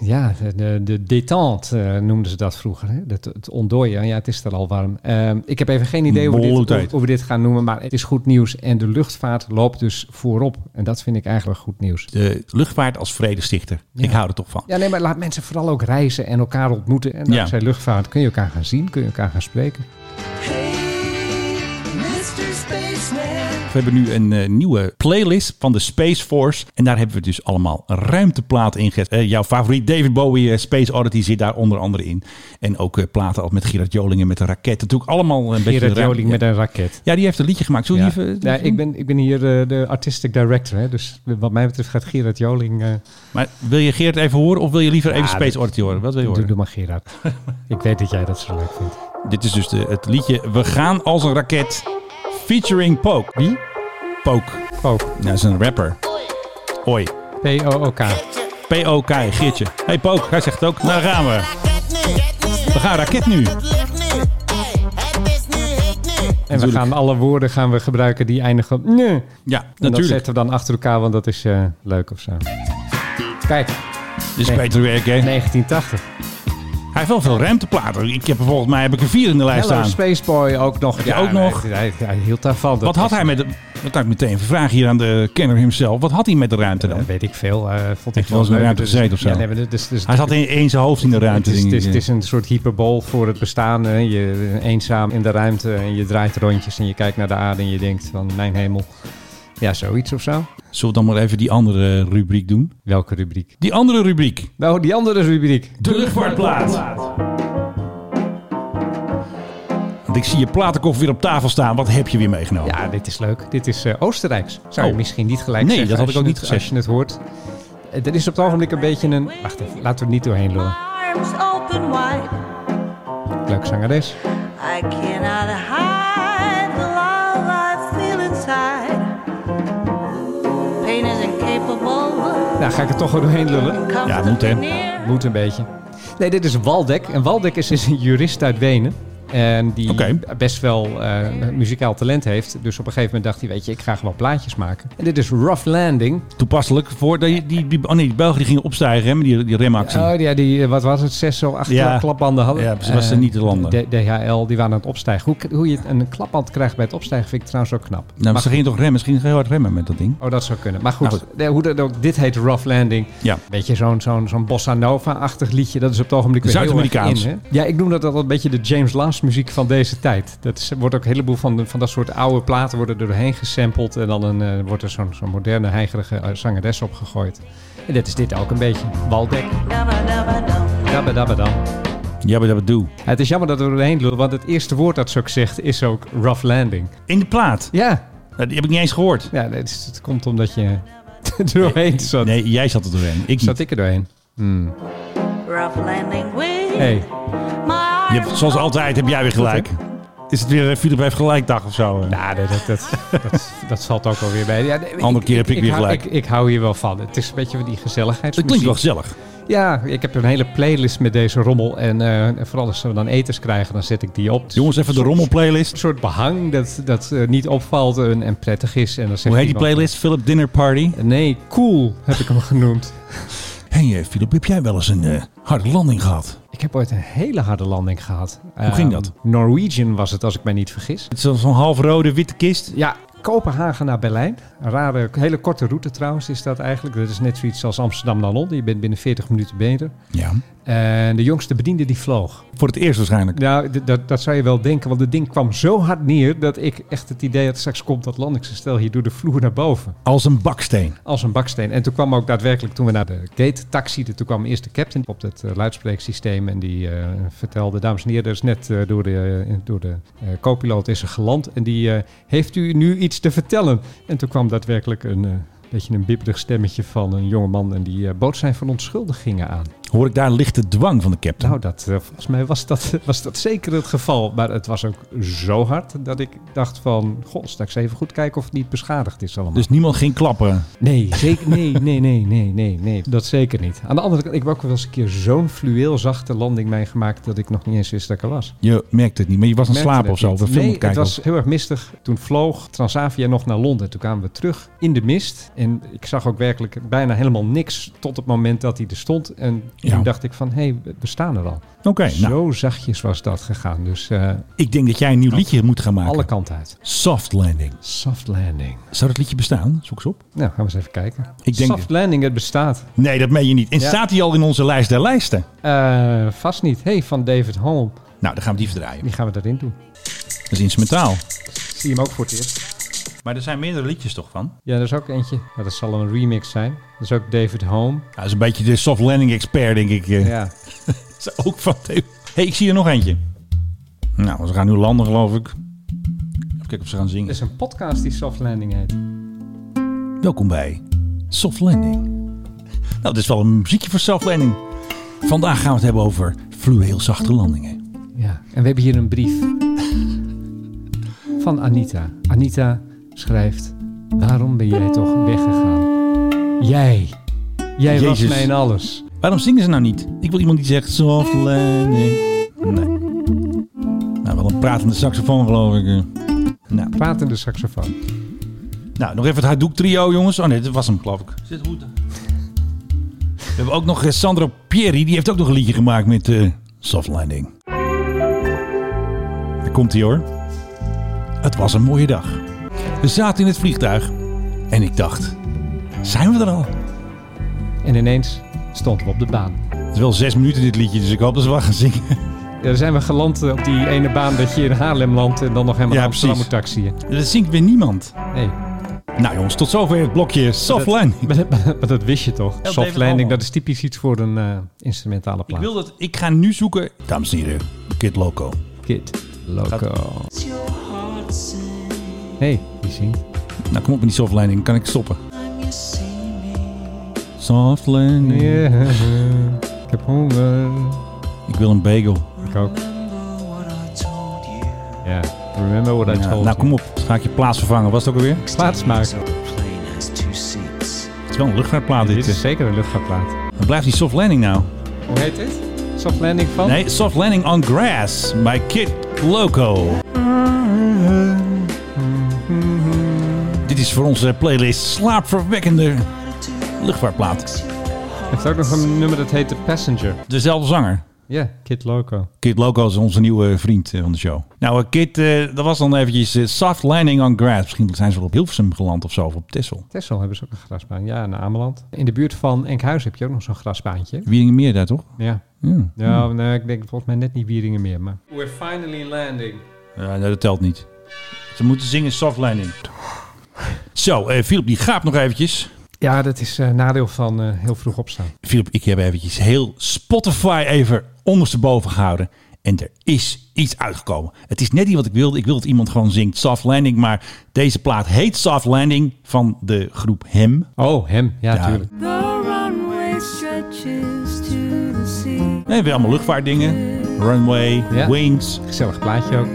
Ja, de, de, de détente eh, noemden ze dat vroeger. Hè? Dat, het ontdooien, ja, het is er al warm. Ehm, ik heb even geen idee hoe we, Bolle dit, hoe, tijd. hoe we dit gaan noemen, maar het is goed nieuws. En de luchtvaart loopt dus voorop. En dat vind ik eigenlijk goed nieuws. De luchtvaart als vredestichter. Ik hou er toch van. Ja, nee, maar laat mensen vooral ook reizen en elkaar ontmoeten. En Ja. dankzij luchtvaart kun je elkaar gaan zien, kun je elkaar gaan spreken. We hebben nu een eh, nieuwe playlist van de Space Force. En daar hebben we dus allemaal ruimteplaten in gezet. Eh, jouw favoriet David Bowie, eh, Space Oddity, zit daar onder andere in. En ook eh, platen als met Gerard Joling en met een raket. Natuurlijk allemaal een beetje... Gerard ruim- Joling met een raket. Ja, die heeft een liedje gemaakt. Zullen Ja. we die even... Ja, ik, ben, ik ben hier eh, de artistic director, hè? dus wat mij betreft gaat Gerard Joling... eh, Maar wil je Geert even horen of wil je liever even Ja, Space Ah, dat- Oddity horen? Wat wil je doe, horen? doe maar Gerard. ik weet dat jij dat zo leuk vindt. Dit is dus de, het liedje We gaan als een raket featuring Poke. Wie? Poke. Ook, Nou, dat is een rapper. Oi. P-O-O-K. P-O-K, Geertje. hey Poke, hij zegt ook. Nou gaan we. We gaan raket nu. En we gaan alle woorden gaan we gebruiken die eindigen op nee. En Ja, dat natuurlijk. zetten we dan achter elkaar, want dat is eh, leuk of zo. Kijk, Dit is beter werk, hè? 1980. Hij heeft wel veel ruimteplaten. Ik heb er volgens mij heb ik er vier in de lijst Hello staan. Spaceboy ook nog. je ook nog? Hij, hij, hij hield daarvan. Dat Wat had was- hij met de... Dat kan ik meteen even vragen hier aan de kenner himself. Wat had hij met de ruimte Eh, dan? weet ik veel. eh vond ik wel eens in de ruimte Dus- gezeten of zo. Ja, nee, maar dit is- dit is- Hij zat in, in zijn hoofd in de ruimte. Het is, het, is, denk het ik. is een soort hyperbol voor het bestaan. Hè. Je eenzaam in de ruimte en je draait rondjes en je kijkt naar de aarde en je denkt van mijn hemel. Ja, zoiets of zo. Zullen we dan maar even die andere rubriek doen? Welke rubriek? Die andere rubriek. Nou, die andere rubriek. De luchtvaartplaat. Ik zie je platenkoffer weer op tafel staan. Wat heb je weer meegenomen? Ja, dit is leuk. Dit is eh, Oostenrijks. Zou Oh. je misschien niet gelijk Nee, zeggen dat had als ik ook je niet het- gezegd. Als je het hoort. Eh, Er is op het ogenblik een beetje een... Wacht even, laten we er niet doorheen lullen. Arms open wide, Leuk zangeres. I cannot hide the love I feel inside. Pain is incapable. Nou, ga ik er toch wel doorheen lullen? Ja, moet, hè. Moet een beetje. Nee, dit is Waldek. En Waldek is, is een jurist uit Wenen. En die best wel eh, muzikaal talent heeft. Dus op een gegeven moment dacht hij, weet je, ik ga gewoon plaatjes maken. En dit is Rough Landing. Toepasselijk voor die, die, die, oh nee, die Belgen die gingen opstijgen hè, met die, die remactie. Oh ja, die, eh, wat was het, zes of acht Ja. klapbanden hadden. Ja, ze was Eh, er niet te landen. D- DHL, die waren aan het opstijgen. Hoe, k- hoe je een klapband krijgt bij het opstijgen vind ik trouwens ook knap. nou, maar Maar ze goed. gingen toch remmen? Misschien gingen heel hard remmen met dat ding. Oh, dat zou kunnen. Maar goed, Nou, nee, hoe dat ook, dit heet Rough Landing. Ja. Weet je, zo'n zo'n zo'n bossa nova-achtig liedje. Dat is op het ogenblik weer heel erg Zuid-Amerikaans. in. Hè? Ja, ik noem dat altijd een beetje de James Last muziek van deze tijd. Dat is- wordt ook een heleboel van, de- van dat soort oude platen worden er doorheen gesampled. En dan een, eh, wordt er zo'n zo'n moderne, heigerige eh, zangeres opgegooid. En dat is dit ook een beetje. Waldek. Dabba dabba dam. Jabba dabba doe. Het is jammer dat we er doorheen lullen, want het eerste woord dat ze ook zegt is ook rough landing. In de plaat? Ja. die heb ik niet eens gehoord. Ja, dat, is- dat komt omdat je er doorheen zat. Nee, jij zat er doorheen. Ik zat ik er doorheen. Hmm. Rough landing with Hey. my Je hebt, zoals altijd heb jij weer gelijk. Is het weer eh, Philip heeft gelijkdag of zo? eh? Ja, Ah, dat, dat, dat, dat, dat valt ook alweer bij. Ja, nee, Andere keer heb ik weer hou- gelijk. Ik, ik hou hier wel van. Het is een beetje van die gezelligheid. Het klinkt wel gezellig. Ja, ik heb een hele playlist met deze rommel. En eh, vooral als we dan eters krijgen, dan zet ik die op. Jongens, even de rommelplaylist. Een soort behang dat, dat eh, niet opvalt en, en prettig is. En dan zegt Hoe heet die iemand- playlist? Philip Dinner Party? Nee, Cool heb ik hem genoemd. Hé hey, eh, Philip, heb jij wel eens een eh, harde landing gehad? Ik heb ooit een hele harde landing gehad. Ehm, Hoe ging dat? Norwegian was het, als ik mij niet vergis. Het is zo'n half rode witte kist. Ja, Kopenhagen naar Berlijn. Een rare, hele korte route trouwens is dat eigenlijk. Dat is net zoiets als Amsterdam naar Londen. Je bent binnen 40 minuten beter. Ja. En de jongste bediende die vloog. Voor het eerst waarschijnlijk. Nou, d- dat, dat zou je wel denken, want het ding kwam zo hard neer... dat ik echt het idee had, straks komt dat landingsgestel hier door de vloer naar boven. Als een baksteen. Als een baksteen. En toen kwam ook daadwerkelijk, toen we naar de gate taxieden, toen kwam eerst de captain op het eh, luidspreeksysteem. En die eh, vertelde, dames en heren, er is net eh, door de, eh, door de eh co-piloot is er geland. En die eh, heeft u nu iets te vertellen. En toen kwam daadwerkelijk een eh, beetje een bibberig stemmetje van een jongeman. En die eh, bood zijn verontschuldigingen aan. Hoor ik daar lichte dwang van de captain? Nou, dat, eh, volgens mij was dat, was dat zeker het geval. Maar het was ook zo hard dat ik dacht van... Goh, straks even goed kijken of het niet beschadigd is allemaal. Dus niemand ging klappen. Nee, zeker nee, nee, nee, nee, nee, nee. Dat zeker niet. Aan de andere kant, ik heb ook wel eens een keer zo'n fluweelzachte landing meegemaakt dat ik nog niet eens wist dat ik er was. Je merkte het niet, maar je was aan het Merkte slapen dat of zo. Of niet. een film aan Nee, het kijken. het was heel erg mistig. Toen vloog Transavia nog naar Londen. Toen kwamen we terug in de mist. En ik zag ook werkelijk bijna helemaal niks tot het moment dat hij er stond. En Ja. toen dacht ik van, hé, hey, we- we staan er al. Oké, nou. Zo zachtjes was dat gegaan. Dus eh, Ik denk dat jij een nieuw liedje moet gaan maken. alle kanten uit. Soft Landing. Soft landing. Zou dat liedje bestaan? Zoek eens op. Nou, gaan we eens even kijken. Ik denk- Soft landing, het bestaat. Nee, dat meen je niet. En Ja. staat hij al in onze lijst der lijsten? Eh, vast niet. Hey, van David Holm. Nou, dan gaan we die verdraaien. Die gaan we daarin doen. Dat is instrumentaal. Zie je hem ook voor het eerst? Maar er zijn meerdere liedjes toch van? Ja, er is ook eentje. Ja, dat zal een remix zijn. Dat is ook David Home. Ja, dat is een beetje de soft landing expert, denk ik. eh. Ja. Dat is ook van Theo. hey, ik zie er nog eentje. Nou, ze gaan nu landen, geloof ik. Even kijken of ze gaan Er zingen. is een podcast die Soft Landing heet. Welkom bij Soft Landing. Nou, dit is wel een muziekje voor Soft Landing. Vandaag gaan we het hebben over fluweelzachte landingen. Ja. En we hebben hier een brief. Van Anita. Anita schrijft... Waarom ben jij toch weggegaan? Jij. Jij Jezus. was mijn alles. Waarom zingen ze nou niet? Ik wil iemand die zegt Soft Landing. Nee. Nou, wel een pratende saxofoon, geloof ik. eh. Nou, Pratende saxofoon. nou nog even het Hadouk trio, jongens. Oh nee, dat was hem, geloof ik. Zit goed. We hebben ook nog eh, Sandro Pieri. Die heeft ook nog een liedje gemaakt met eh Soft Landing. Daar komt hij hoor. Het was een mooie dag. We zaten in het vliegtuig en ik dacht, zijn we er al? En ineens stonden we op de baan. Het is wel zes minuten dit liedje, dus ik hoop dat ze wel gaan zingen. Ja, dan zijn we geland eh, op die ene baan dat je in Haarlem landt... en dan nog helemaal Ja, naar Amsterdam moet precies. taxiën. Dat zingt weer niemand. Nee. Nou jongens, tot zover het blokje Soft Dat- Landing. Maar dat, maar dat wist je toch? David Soft Hallman. landing, dat is typisch iets voor een eh, instrumentale Ik plaat. wil dat, ik ga nu zoeken. Dames en heren, Kid Loco. Kid Loco. hey, die zingt. Nou, kom op met die soft landing. Kan ik stoppen? Soft landing. Yeah. Ik heb honger. Ik wil een bagel. Ik ook. Ja, remember what I Ja, told you. nou, kom op. Ga ik je plaats vervangen. Was het ook alweer? Plaatsmaken. Het is wel een luchtvaartplaat dit. Dit is zeker een luchtvaartplaat. Dan blijft die soft landing nou. Hoe heet dit? Soft landing van? Nee, soft landing on grass. My kid Loco. Dit is voor onze playlist slaapverwekkende luchtvaartplaat. Heeft ook nog een nummer dat heet The Passenger. Ja, Dezelfde zanger. Kid Loco. Kid Loco is onze nieuwe vriend eh, van de show. Nou, eh, Kid, eh, dat was dan eventjes eh, soft landing on grass. Misschien zijn ze wel op Hilversum geland of zo, of op Texel. Texel hebben ze ook een grasbaan. Ja, in Ameland. In de buurt van Enkhuis heb je ook nog zo'n grasbaantje. Wieringen meer daar, toch? Ja. Ja. Nou, nee, ik denk volgens mij net niet Wieringen meer, maar... We're finally landing. Ja, nee, dat telt niet. Ze moeten zingen soft landing. Zo, eh Philip die gaapt nog eventjes. Ja, dat is eh, nadeel van eh, heel vroeg opstaan. Philip, ik heb eventjes heel Spotify even ondersteboven gehouden. En er is iets uitgekomen. Het is net niet wat ik wilde. Ik wil dat iemand gewoon zingt Soft Landing. Maar deze plaat heet Soft Landing van de groep Hem. Oh, hem. Ja, tuurlijk. The runway stretches to the sea. Nee, weer allemaal luchtvaartdingen. Runway, Ja. Wings. Gezellig plaatje ook.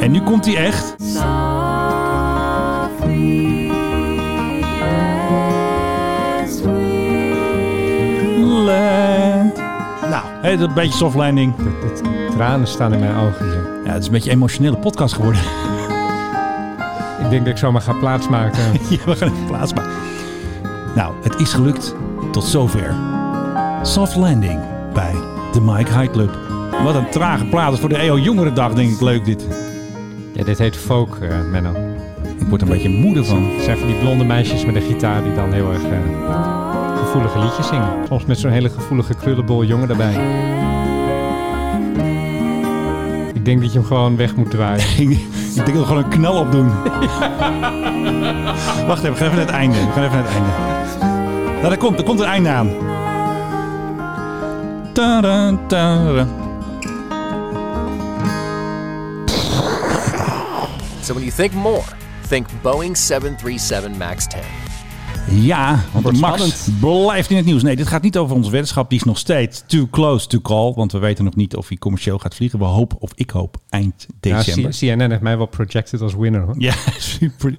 En nu komt hij echt. Softly as we Land. Nou, hè, dat is een beetje Soft Landing. De, de tranen staan in mijn ogen hier. Ja, het is een beetje een emotionele podcast geworden. Ik denk dat ik zomaar ga plaatsmaken. Ja, we gaan even plaatsmaken. Nou, het is gelukt. Tot zover. Soft Landing bij de Mike High Club. Wat een trage plaat. Dat is voor de EO Jongerendag denk ik leuk dit. ja, dit heet folk, eh, Menno. Ik word er een beetje moeder van. Het zijn van die blonde meisjes met een gitaar die dan heel erg eh, gevoelige liedjes zingen. Soms met zo'n hele gevoelige krullenbol jongen daarbij. Ik denk dat je hem gewoon weg moet draaien. Ik, ik denk dat we gewoon een knal op doen. Wacht even, we gaan even naar het einde. We gaan even naar het einde. Nou, daar komt, daar komt een einde aan. Tada, tada. So when you think more, think Boeing 737 MAX 10. Ja, want Wordt Max spannend. blijft in het nieuws. Nee, dit gaat niet over onze weddenschap. Die is nog steeds too close to call. Want we weten nog niet of hij commercieel gaat vliegen. We hopen, of ik hoop, eind Nou, december. C- CNN heeft mij wel projected als winner hoor. Ja, super.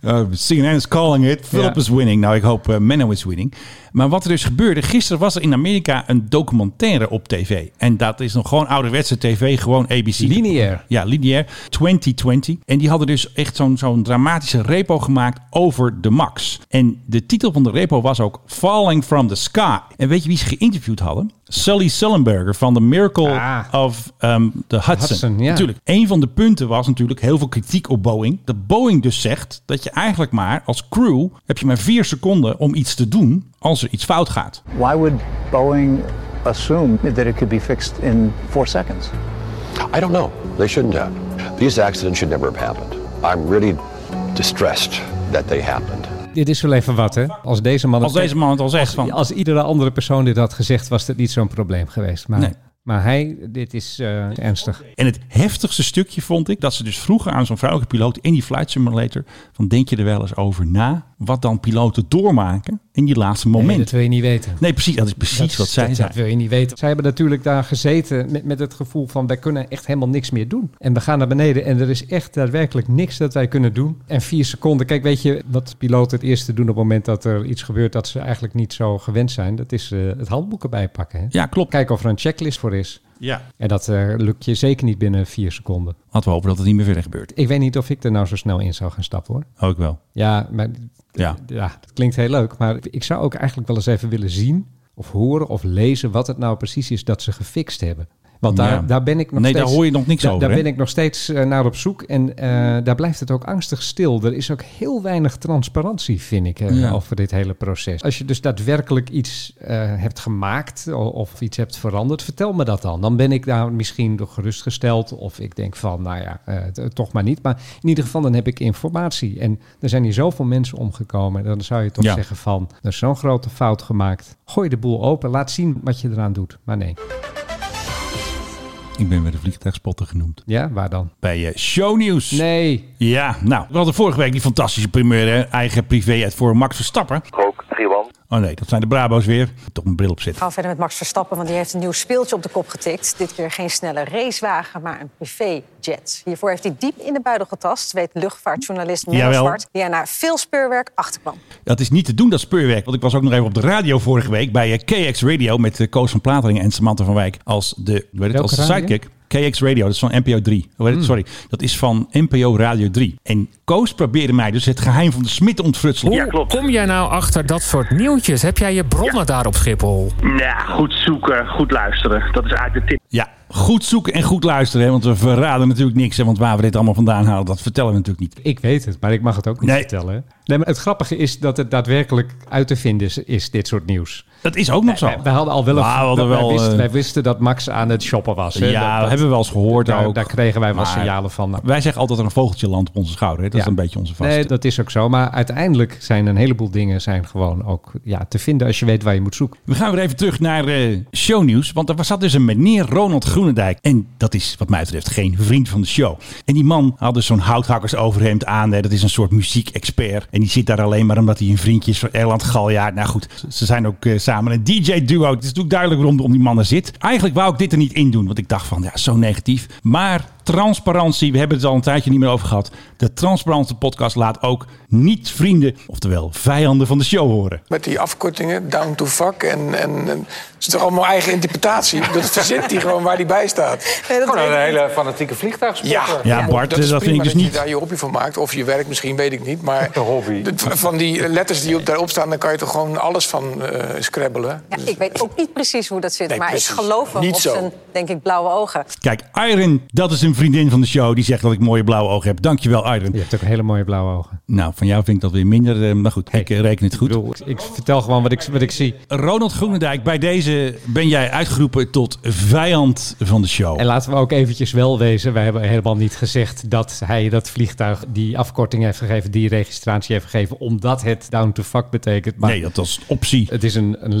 Eh, CNN is calling it. Philip Ja. is winning. Nou, ik hoop eh, Menno is winning. Maar wat er dus gebeurde, gisteren was er in Amerika een documentaire op tv. En dat is nog gewoon ouderwetse tv, gewoon ABC. Lineair. Ja, lineair. 2020. En die hadden dus echt zo'n zo'n dramatische repo gemaakt over de Max. En de titel van de repo was ook Falling from the Sky. En weet je wie ze geïnterviewd hadden? Sully Sullenberger van The Miracle Ah. of ehm, the Hudson. Hudson, ja. Natuurlijk. Een van de punten was natuurlijk heel veel kritiek op Boeing. Dat Boeing dus zegt dat je eigenlijk maar als crew heb je maar vier seconden om iets te doen als er iets fout gaat. Why would Boeing assume that it could be fixed in four seconds? I don't know. They shouldn't have. These accidents should never have happened. I'm really distressed that they happened. Dit is wel even wat hè. Als deze man, Als deze man het al zegt van. als iedere andere persoon dit had gezegd was het niet zo'n probleem geweest. Maar, Nee. maar hij, dit is eh, ernstig. En het heftigste stukje vond ik dat ze dus vroegen aan zo'n vrouwelijke piloot in die flight simulator: van denk je er wel eens over na wat dan piloten doormaken in die laatste Nee, momenten? dat wil je niet weten. Nee, precies. Dat is precies Dat is- wat zij dat, zei. Dat wil je niet weten. Zij hebben natuurlijk daar gezeten met, met het gevoel van... wij kunnen echt helemaal niks meer doen. En we gaan naar beneden en er is echt daadwerkelijk niks dat wij kunnen doen. En vier seconden. Kijk, weet je wat piloten het eerste doen op het moment dat er iets gebeurt... dat ze eigenlijk niet zo gewend zijn? Dat is eh, het handboek erbij pakken. Hè? Ja, klopt. Kijken of er een checklist voor is. Ja. En dat eh, lukt je zeker niet binnen vier seconden. Laten we hopen dat het niet meer verder gebeurt. Ik weet niet of ik er nou zo snel in zou gaan stappen hoor. Ook wel. Ja, maar Ja. ja. dat klinkt heel leuk. Maar ik zou ook eigenlijk wel eens even willen zien of horen of lezen wat het nou precies is dat ze gefixt hebben. Want daar, Ja. daar ben ik nog Nee, daar steeds... hoor je nog niks da- over, Daar hè? ben ik nog steeds eh, naar op zoek. En eh, daar blijft het ook angstig stil. Er is ook heel weinig transparantie, vind ik, eh, Ja. over dit hele proces. Als je dus daadwerkelijk iets eh, hebt gemaakt o- of iets hebt veranderd, vertel me dat dan. Dan ben ik daar misschien door gerustgesteld. Of ik denk van, nou ja, eh, t- toch maar niet. Maar in ieder geval, dan heb ik informatie. En er zijn hier zoveel mensen omgekomen. Dan zou je toch Ja. zeggen van, er is zo'n grote fout gemaakt. Gooi de boel open, laat zien wat je eraan doet. Maar nee. Ik ben weer de vliegtuigspotter genoemd. Ja, waar dan? Bij eh, shownieuws. Nee. Ja, nou, we hadden vorige week die fantastische primeur, hè? eigen privé uit voor Max Verstappen. Rook, Triwan. Oh nee, dat zijn de Brabo's weer. Toch een bril op zitten. Oh. We gaan verder met Max Verstappen, want die heeft een nieuw speeltje op de kop getikt. Dit keer geen snelle racewagen, maar een privéjet. Hiervoor heeft hij diep in de buidel getast, weet luchtvaartjournalist Menno Jawel. Zwart... die er na veel speurwerk achterkwam. Dat is niet te doen, dat speurwerk. Want ik was ook nog even op de radio vorige week bij eh, KX Radio met eh, Koos van Plateringen en Samantha van Wijk als de, weet het, Welke als de radio? Hmm. sidekick. KX Radio, dat is van NPO 3. Hoe heet het? Sorry, dat is van NPO Radio 3. En Koos probeerde mij dus het geheim van de smid te ontfrutselen. Oh. Hoe kom jij nou achter dat soort nieuwtjes? Heb jij je bronnen daar op Schiphol? Ja, goed zoeken, goed luisteren. Dat is eigenlijk de tip. Ja, goed zoeken en goed luisteren. Hè, want we verraden natuurlijk niks. Hè, want waar we dit allemaal vandaan halen, dat vertellen we natuurlijk niet. Ik weet het, maar ik mag het ook niet Nee. vertellen. hè? Nee, maar het grappige is dat het daadwerkelijk uit te vinden is, is dit soort nieuws. Dat is ook nog zo. Wij, wij hadden al wel een... Maar we hadden wij, wel, wisten, eh, wij wisten dat Max aan het shoppen was. hè? Ja, dat, dat hebben we wel eens gehoord daar, ook. Daar kregen wij wel Maar signalen van. eh. Wij zeggen altijd dat er een vogeltje landt op onze schouder. Hè? Dat is Ja. een beetje onze vast. Nee, dat is ook zo. Maar uiteindelijk zijn een heleboel dingen zijn gewoon ook ja, te vinden als je weet waar je moet zoeken. We gaan weer even terug naar eh, shownieuws. Want er zat dus een meneer Ronald Groenendijk. En dat is wat mij betreft geen vriend van de show. En die man had dus zo'n houthakkersoverhemd aan. Hè. Dat is een soort muziekexpert. En die zit daar alleen maar omdat hij een vriendje is van Erland Galjaard. Nou goed, ze- ze zijn ook eh, samen een DJ-duo. Het is natuurlijk duidelijk waarom om die man er zit. Eigenlijk wou ik dit er niet in doen. Want ik dacht van, ja, zo negatief. Maar transparantie, we hebben het al een tijdje niet meer over gehad. De Transparante podcast laat ook niet vrienden, oftewel vijanden van de show horen. Met die afkortingen, down to fuck. En, en, en het is toch allemaal eigen interpretatie? Dat verzint hij gewoon waar hij bij staat. Gewoon een hele fanatieke vliegtuigspotter. Ja, Ja, Bart, dat, dat is vind prima ik dus dat niet. je daar je hobby van maakt. Of je werk misschien, weet ik niet. Maar de- van die letters die op, daarop staan, daar kan je toch gewoon alles van eh scrabbelen. Ja, ik weet ook niet precies hoe dat zit, Nee, maar ik precies. geloof hem Niet op zo. zijn, denk ik, blauwe ogen. Kijk, Iron, dat is een vriendin van de show. Die zegt dat ik mooie blauwe ogen heb. Dankjewel, Iron. Je hebt ook hele mooie blauwe ogen. Nou, van jou vind ik dat weer minder. eh, Maar goed, ik eh, reken het goed. Ik vertel gewoon wat ik, wat ik zie. Ronald Groenendijk, bij deze ben jij uitgeroepen tot vijand van de show. En laten we ook eventjes wel wezen, wij hebben helemaal niet gezegd dat hij dat vliegtuig die afkorting heeft gegeven, die registratie heeft gegeven, omdat het down to fuck betekent. Maar nee, dat was een optie. Het is een, een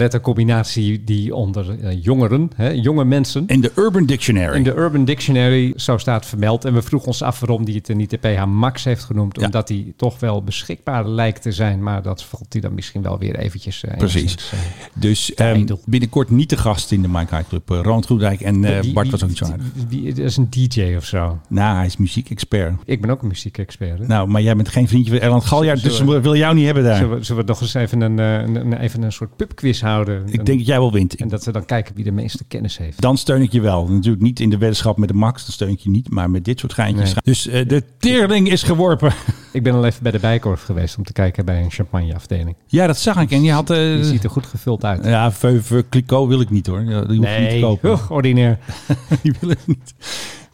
lettercombinatie die onder eh, jongeren, hè, jonge mensen... In de Urban Dictionary. In de Urban Dictionary, zo staat vermeld. En we vroegen ons af waarom hij het er niet de PH Max heeft genoemd. Omdat hij toch wel beschikbaar lijkt te zijn. Maar dat valt hij dan misschien wel weer eventjes... eh, Precies. enigszins, eh, Dus ehm, binnenkort niet de gast in de Mike High Club. Eh, Ronald Groenendijk en eh, Oh, die- Bart was ook niet zo die- aardig. die- Dat is een DJ of zo. Nou, hij is muziekexpert. Ik ben ook een muziekexpert. hè? Nou, maar jij bent geen vriendje van Erland Galjaard, dus Zullen we- we wil jou niet hebben daar. Zullen we, zullen we nog eens even een, eh, een, een- even een soort pubquiz houden? Ik denk dat jij wel wint. En dat we dan kijken wie de meeste kennis heeft. Dan steun ik je wel. Natuurlijk niet in de weddenschap met de Max, dan steun ik je niet. Maar met dit soort geintjes. Nee. Dus eh, de teerling is geworpen. Ik ben al even bij de Bijkorf geweest om te kijken bij een champagneafdeling. Ja, dat zag ik. En je had... eh, Die ziet er goed gevuld uit. ja, Veuve Clicquot wil ik niet hoor. Ja, Die hoef ik niet te kopen. ugh, ordinair. Die willen we niet.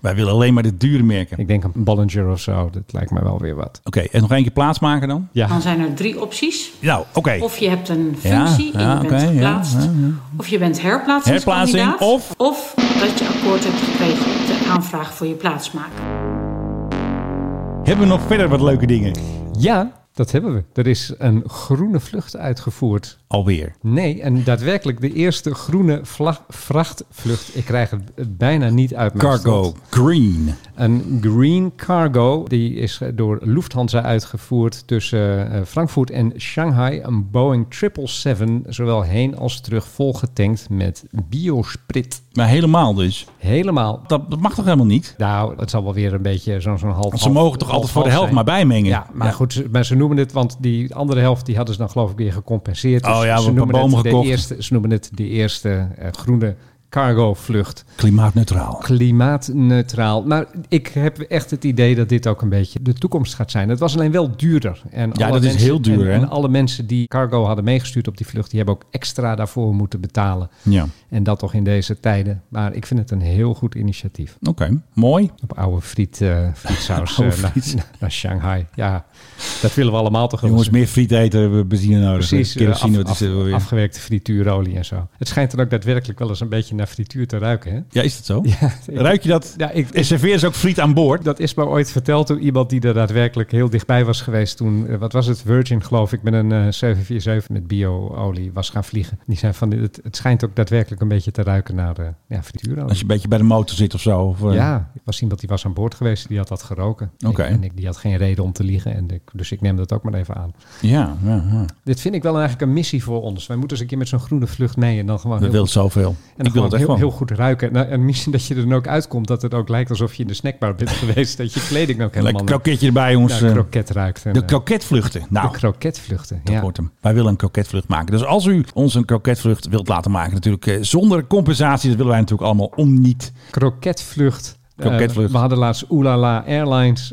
Wij willen alleen maar de dure merken. Ik denk een Bollinger of zo. Dat lijkt mij wel weer wat. Oké, en nog één keer plaatsmaken dan? Ja. Dan zijn er drie opties. Nou, oké. Of je hebt een Ja, functie en ja, je bent oké, ja, geplaatst. ja, ja. Of je bent herplaatsingskandidaat. Herplaatsing of- Of dat je akkoord hebt gekregen op de aanvraag voor je plaatsmaker. Hebben we nog verder wat leuke dingen? Ja, dat hebben we. Er is een groene vlucht uitgevoerd. Alweer. Nee, en daadwerkelijk de eerste groene vlag, vrachtvlucht. Ik krijg het eh, bijna niet uit mijn Cargo strot. Green. Een green cargo, die is eh, door Lufthansa uitgevoerd tussen eh, Frankfurt en Shanghai. Een Boeing 777, zowel heen als terug, volgetankt met biosprit. Maar helemaal dus. Helemaal. Dat, dat mag toch helemaal niet? Nou, het zal wel weer een beetje zo'n zo'n half. Want ze mogen toch half- altijd voor de half helft zijn. maar bijmengen? Ja, maar Ja. goed, ze- maar ze noemen het, want die andere helft die hadden ze dan geloof ik weer gecompenseerd. Dus Oh ja, we hebben ze een noemen paar bomen het de gekocht. eerste, Ze noemen het de eerste eh, groene cargo-vlucht. Klimaatneutraal. Klimaatneutraal. Maar ik heb echt het idee dat dit ook een beetje de toekomst gaat zijn. Het was alleen wel duurder. En Ja, alle dat is mensen- heel duur, En, hè? en alle mensen die cargo hadden meegestuurd op die vlucht, die hebben ook extra daarvoor moeten betalen. Ja. En dat toch in deze tijden. Maar ik vind het een heel goed initiatief Oké, mooi. op oude friet, eh, frietsaus Oude eh, naar- friet. naar, naar Shanghai. Ja, dat willen we allemaal toch wel Jongens, eens. meer friet eten, we hebben benzine nodig. Precies, eh, Kerosine, af- wat is af- er wel weer? afgewerkte frituurolie en zo. Het schijnt er ook daadwerkelijk wel eens een beetje naar frituur te ruiken. Hè? Ja, is dat zo? Ruik je dat? Ja, ik, En serveer ze ook friet aan boord? Dat is mij ooit verteld door iemand die er daadwerkelijk heel dichtbij was geweest toen, eh, wat was het, Virgin geloof ik, met een eh, 747 met bio-olie was gaan vliegen. Die zei van, het, het schijnt ook daadwerkelijk een beetje te ruiken naar de ja, frituurolie. Als je een beetje bij de motor zit of zo. Of, eh, Ja, er was iemand die was aan boord geweest, die had dat geroken. Oké. Ik- En ik, die had geen reden om te liegen, en ik, dus ik neem dat ook maar even aan. Ja, ja, ja. Dit vind ik wel eigenlijk een missie voor ons. Wij moeten eens een keer met zo'n groene vlucht mee en dan gewoon... We heel- willen zoveel. En Ik dan wil gewoon het echt heel, wel. heel goed ruiken. Nou, en misschien dat je er dan ook uitkomt dat het ook lijkt alsof je in de snackbar bent geweest. Dat je kleding ook helemaal... Lekker kroketje erbij, jongens. Ja, kroket ruikt. En, de eh, kroketvluchten. Nou, de kroketvluchten. Dat ja. wordt hem. Wij willen een kroketvlucht maken. Dus als u ons een kroketvlucht wilt laten maken, natuurlijk eh, zonder compensatie, dat willen wij natuurlijk allemaal om niet. Kroketvlucht. Kroketvlucht. Oh, Eh, we hadden laatst Oelala Airlines.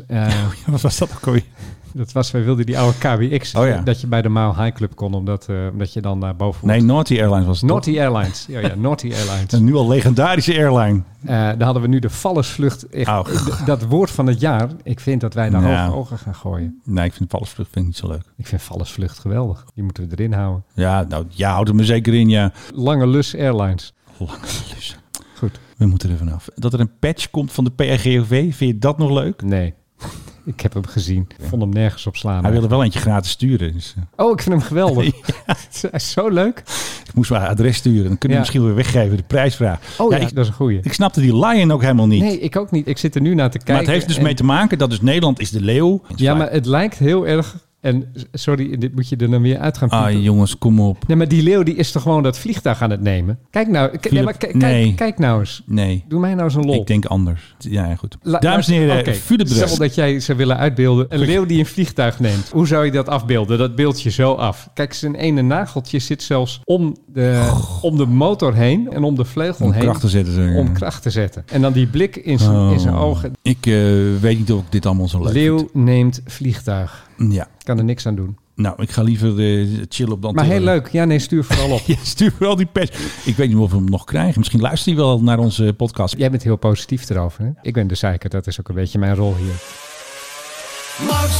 eh, Wat was dat ook alweer? dat was, wij wilden die oude KWX. Oh ja. Dat je bij de Mile High Club kon, omdat, eh, omdat je dan naar boven... Nee, Naughty Airlines was het. toch? Naughty Airlines. Ja, ja, Naughty Airlines. Een nu al legendarische airline. Eh, daar hadden we nu de vallersvlucht. Echt, Oh. d- dat woord van het jaar. Ik vind dat wij daar Ja. hoge ogen gaan gooien. Nee, ik vind valsvlucht vind ik niet zo leuk. Ik vind vallersvlucht geweldig. Die moeten we erin houden. Ja, nou, ja, houd het me zeker in, ja. Lange Lus Airlines. Lange lus. Goed. We moeten er vanaf. Dat er een patch komt van de PRGOV, vind je dat nog leuk? Nee. Ik heb hem gezien. Vond hem nergens op slaan. Hij wilde wel eentje gratis sturen. Dus eh, Oh, ik vind hem geweldig. Hij is Zo leuk. ik moest maar adres sturen. Dan kunnen we Ja. misschien weer weggeven, de prijsvraag. Oh ja, ik, dat is een goeie. ik snapte die lion ook helemaal niet. Nee, ik ook niet. Ik zit er nu naar te kijken. maar het heeft dus en- mee te maken dat dus Nederland is de leeuw. Ja, maar het lijkt heel erg... En s- sorry, dit moet je er dan weer uit gaan piepen. Ah, jongens, kom op. Nee, maar die leeuw die is toch gewoon dat vliegtuig aan het nemen? Kijk nou, k- nee, Philip, maar k- kijk, nee. kijk nou eens. Nee, Doe mij nou zo'n lol. ik denk anders. Ja, ja, goed. La- Dames en heren, oké, Philip de Rest. Stel dat jij ze willen uitbeelden. Een leeuw die een vliegtuig neemt. Hoe zou je dat afbeelden? Dat beeld je zo af. Kijk, zijn ene nageltje zit zelfs om de, om de motor heen en om de vleugel Oh. Om heen. kracht te zetten, zeg maar. Om kracht te zetten. En dan die blik in zijn, in zijn Oh. ogen. Ik eh, weet niet of ik dit allemaal zo leuk Leeuw neemt vliegtuig. vind. Ja. Kan er niks aan doen. Nou, ik ga liever eh, chillen op dan Maar heel leuk. Ja, nee, stuur vooral op. Ja, stuur vooral die pers. Ik weet niet of we hem nog krijgen. Misschien luistert hij wel naar onze podcast. Jij bent heel positief erover. Hè? Ik ben de zeiker. Dat is ook een beetje mijn rol hier.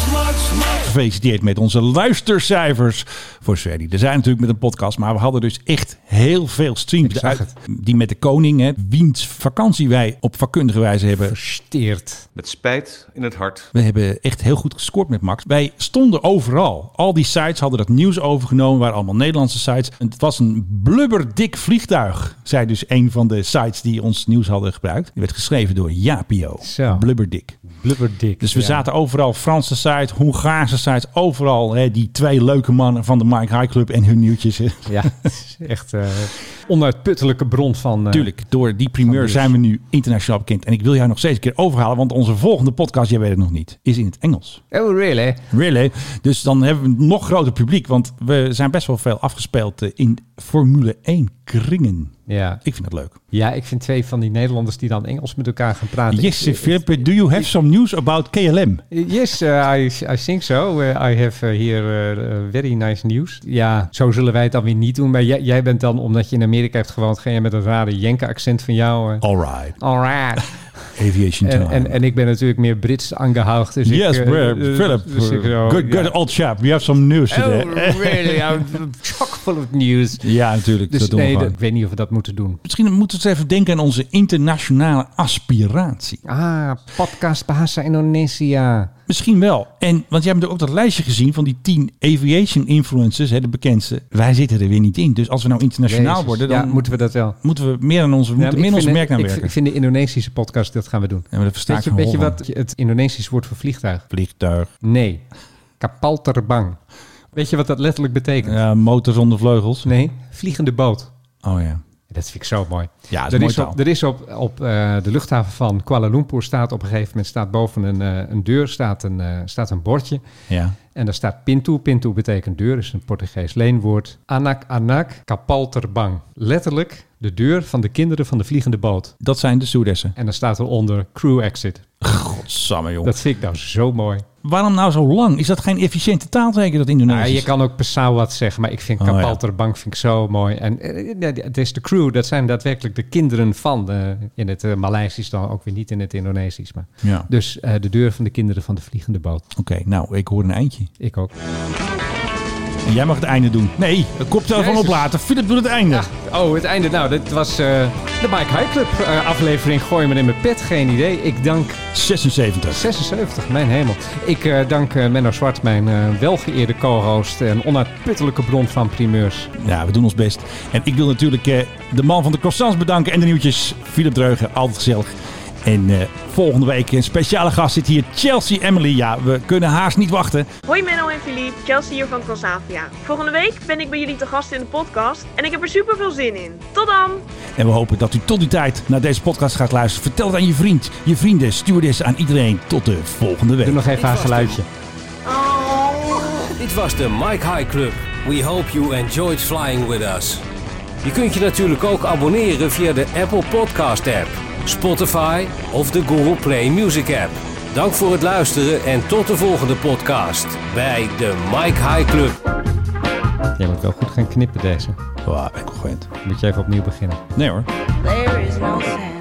Gefeliciteerd met onze luistercijfers voor Sverry. Er zijn natuurlijk met een podcast, maar we hadden dus echt heel veel streams. Ik zag uit, Die met de koning, hè, wiens vakantie wij op vakkundige wijze hebben Versteerd. Met spijt in het hart. We hebben echt heel goed gescoord met Max. Wij stonden overal. Al die sites hadden dat nieuws overgenomen. waren allemaal Nederlandse sites. En Het was een blubberdik vliegtuig. Zei dus een van de sites die ons nieuws hadden gebruikt. Die werd geschreven door Japio. Zo. Blubberdik. Blubberdik. Dus we Ja. zaten overal. Franse site, Hongaarse site. Overal hè, die twee leuke mannen van de Mike High Club en hun nieuwtjes. hè. Ja, het is echt eh onuitputtelijke bron van... eh, Tuurlijk, door die primeur nieuws. zijn we nu internationaal bekend. En ik wil jou nog steeds een keer overhalen. Want onze volgende podcast, jij weet het nog niet, is in het Engels. Oh, really? Really? Dus dan hebben we een nog groter publiek. Want we zijn best wel veel afgespeeld eh, in Formule 1 kringen. Ja. Ik vind dat leuk. Ja, ik vind twee van die Nederlanders die dan Engels met elkaar gaan praten. Yes, eh, Ik- Philippe, do you have some news about KLM? Yes, uh, I, I think so. Uh, I have uh, here uh, uh, very nice news. Ja, zo zullen wij het dan weer niet doen. Maar jij, jij bent dan, omdat je in Amerika hebt gewoond, ga je met dat rare Jenke-accent van jou. eh, All right. All right. Aviation time. En, en, en ik ben natuurlijk meer Brits aangehouden. Dus ik, yes, eh, Philip. eh, dus ik zo, good, ja. good old chap. We have some news today. Oh, really? I'm chock full of news. ja, natuurlijk. Dus dat doen we nee, dat- gewoon. ik weet niet of we dat moeten doen. Misschien moeten we eens even denken aan onze internationale aspiratie. Ah, podcast Bahasa Indonesia. Misschien wel. En, want jij hebt natuurlijk ook dat lijstje gezien van die tien aviation influencers, hè, de bekendste. Wij zitten er weer niet in. Dus als we nou internationaal Jezus. worden, dan Ja, moeten we dat wel. moeten we meer aan onze, we moeten Ja, meer maar aan ik onze merk vind- naar ik, werken. Ik vind de Indonesische podcast, dat gaan we doen. ja, maar dat versta Weet je, ik weet je gewoon wat het Indonesisch woord voor vliegtuig? Vliegtuig. Nee. Kapal terbang. Weet je wat dat letterlijk betekent? Ja, motor zonder vleugels. Nee, vliegende boot. Oh ja. Dat vind ik zo mooi. Ja, dat is er, mooi is op, taal. er is op, op eh, de luchthaven van Kuala Lumpur staat op een gegeven moment staat boven een, eh, een deur staat een, eh, staat een bordje. Ja. En daar staat Pintu. Pintu betekent deur, is een Portugees leenwoord. Anak anak kapal terbang. Letterlijk de deur van de kinderen van de vliegende boot. Dat zijn de stewardessen. En dan staat eronder crew exit. Godsamme joh. Dat vind ik nou zo mooi. Waarom nou zo lang? Is dat geen efficiënte taal zeker, dat Indonesisch? Ja, Nou, je kan ook Pesawat zeggen, maar ik vind Oh, ja. Kapalterbank vind ik zo mooi. En eh, eh, het is de crew, dat zijn daadwerkelijk de kinderen van. eh, in het eh, Maleisisch dan ook weer niet in het Indonesisch. Maar. Ja. Dus eh, de deur van de kinderen van de vliegende boot. Oké, nou, ik hoor een eindje. Ik ook. En jij mag het einde doen. Nee, een koptelefoon Jezus. oplaten. Philip doet het einde. Oh, het einde. Nou, dit was eh, De Mike High Club eh, aflevering Gooi me in mijn pet. Geen idee. Ik dank... 76. 76, mijn hemel. Ik eh, dank eh, Menno Zwart, mijn eh, welgeëerde co-host en onuitputtelijke bron van primeurs. Ja, we doen ons best. En ik wil natuurlijk eh, de man van de croissants bedanken en de nieuwtjes. Philip Dreugen, altijd gezellig. En eh, volgende week een speciale gast zit hier, Chelsea Emily. Ja, we kunnen haast niet wachten. Hoi Menno en Philippe, Chelsea hier van Transavia. Volgende week ben ik bij jullie te gast in de podcast en ik heb er super veel zin in. Tot dan! En we hopen dat u tot die tijd naar deze podcast gaat luisteren. Vertel het aan je vriend, je vrienden, stewardess, aan iedereen. Tot de volgende week. Doe nog even haar geluidje. Dit was de Mike High Club. We hope you enjoyed flying with us. Je kunt je natuurlijk ook abonneren via de Apple Podcast app, Spotify of de Google Play Music app. Dank voor het luisteren en tot de volgende podcast bij de Mike High Club. Jij moet wel goed gaan knippen deze. Wauw, ik ben gewend. Moet je even opnieuw beginnen. Nee hoor. There is no sound.